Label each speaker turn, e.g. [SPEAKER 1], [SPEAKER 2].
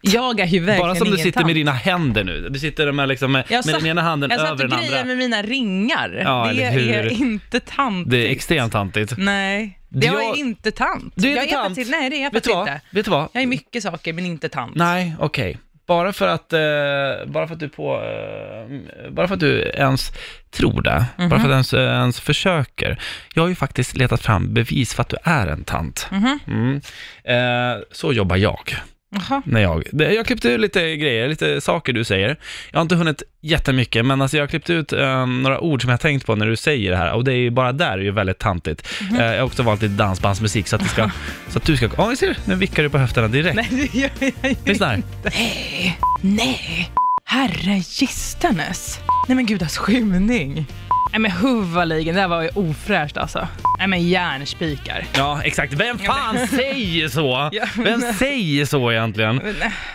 [SPEAKER 1] Jag är ju verkligen
[SPEAKER 2] Bara som du
[SPEAKER 1] ingen
[SPEAKER 2] sitter
[SPEAKER 1] tant.
[SPEAKER 2] med dina händer nu. Du sitter med, liksom, med,
[SPEAKER 1] Jag
[SPEAKER 2] med
[SPEAKER 1] satt-
[SPEAKER 2] den ena handen
[SPEAKER 1] Jag satt
[SPEAKER 2] över
[SPEAKER 1] och
[SPEAKER 2] den andra.
[SPEAKER 1] grejade med mina ringar.
[SPEAKER 2] Ja,
[SPEAKER 1] det
[SPEAKER 2] eller hur?
[SPEAKER 1] är inte tant.
[SPEAKER 2] Det är extremt tantigt.
[SPEAKER 1] Nej, det jag...
[SPEAKER 2] Jag-
[SPEAKER 1] är inte tant.
[SPEAKER 2] Du är
[SPEAKER 1] jag
[SPEAKER 2] inte tant.
[SPEAKER 1] Till... Nej, det är jag
[SPEAKER 2] Vet du
[SPEAKER 1] faktiskt
[SPEAKER 2] vad?
[SPEAKER 1] inte.
[SPEAKER 2] Vet du vad?
[SPEAKER 1] Jag är mycket saker, men inte tant.
[SPEAKER 2] Nej, okej. Bara för att, eh, bara för att du på, eh, bara för att du ens tror det, bara
[SPEAKER 1] Mhm.
[SPEAKER 2] för att du ens, eh, ens försöker. Jag har ju faktiskt letat fram bevis för att du är en tant.
[SPEAKER 1] Mhm.
[SPEAKER 2] Mm. Eh, så jobbar jag.
[SPEAKER 1] Jaha.
[SPEAKER 2] När jag, det- jag klippte ut lite grejer, lite saker du säger. Jag har inte hunnit jättemycket, men alltså jag har klippt ut eh, några ord som jag har tänkt på när du säger det här. Och det är ju bara där är ju väldigt tantigt.
[SPEAKER 1] Mhm.
[SPEAKER 2] Eh, jag har också valt lite dansbandsmusik så att, det ska, så att du ska... Ja, ni ser, nu vickar du på höfterna direkt.
[SPEAKER 1] Nej, det gör jag ju
[SPEAKER 2] Lyssna här.
[SPEAKER 1] Nej, nej. Herre gistanes. Nej men gud, alltså skymning. Nej men huvaligen, det där var ju ofräscht alltså. Nej men järnspikar.
[SPEAKER 2] Ja, exakt. Vem fan säger så?
[SPEAKER 1] Ja,
[SPEAKER 2] Vem säger så egentligen?
[SPEAKER 1] Men, äh,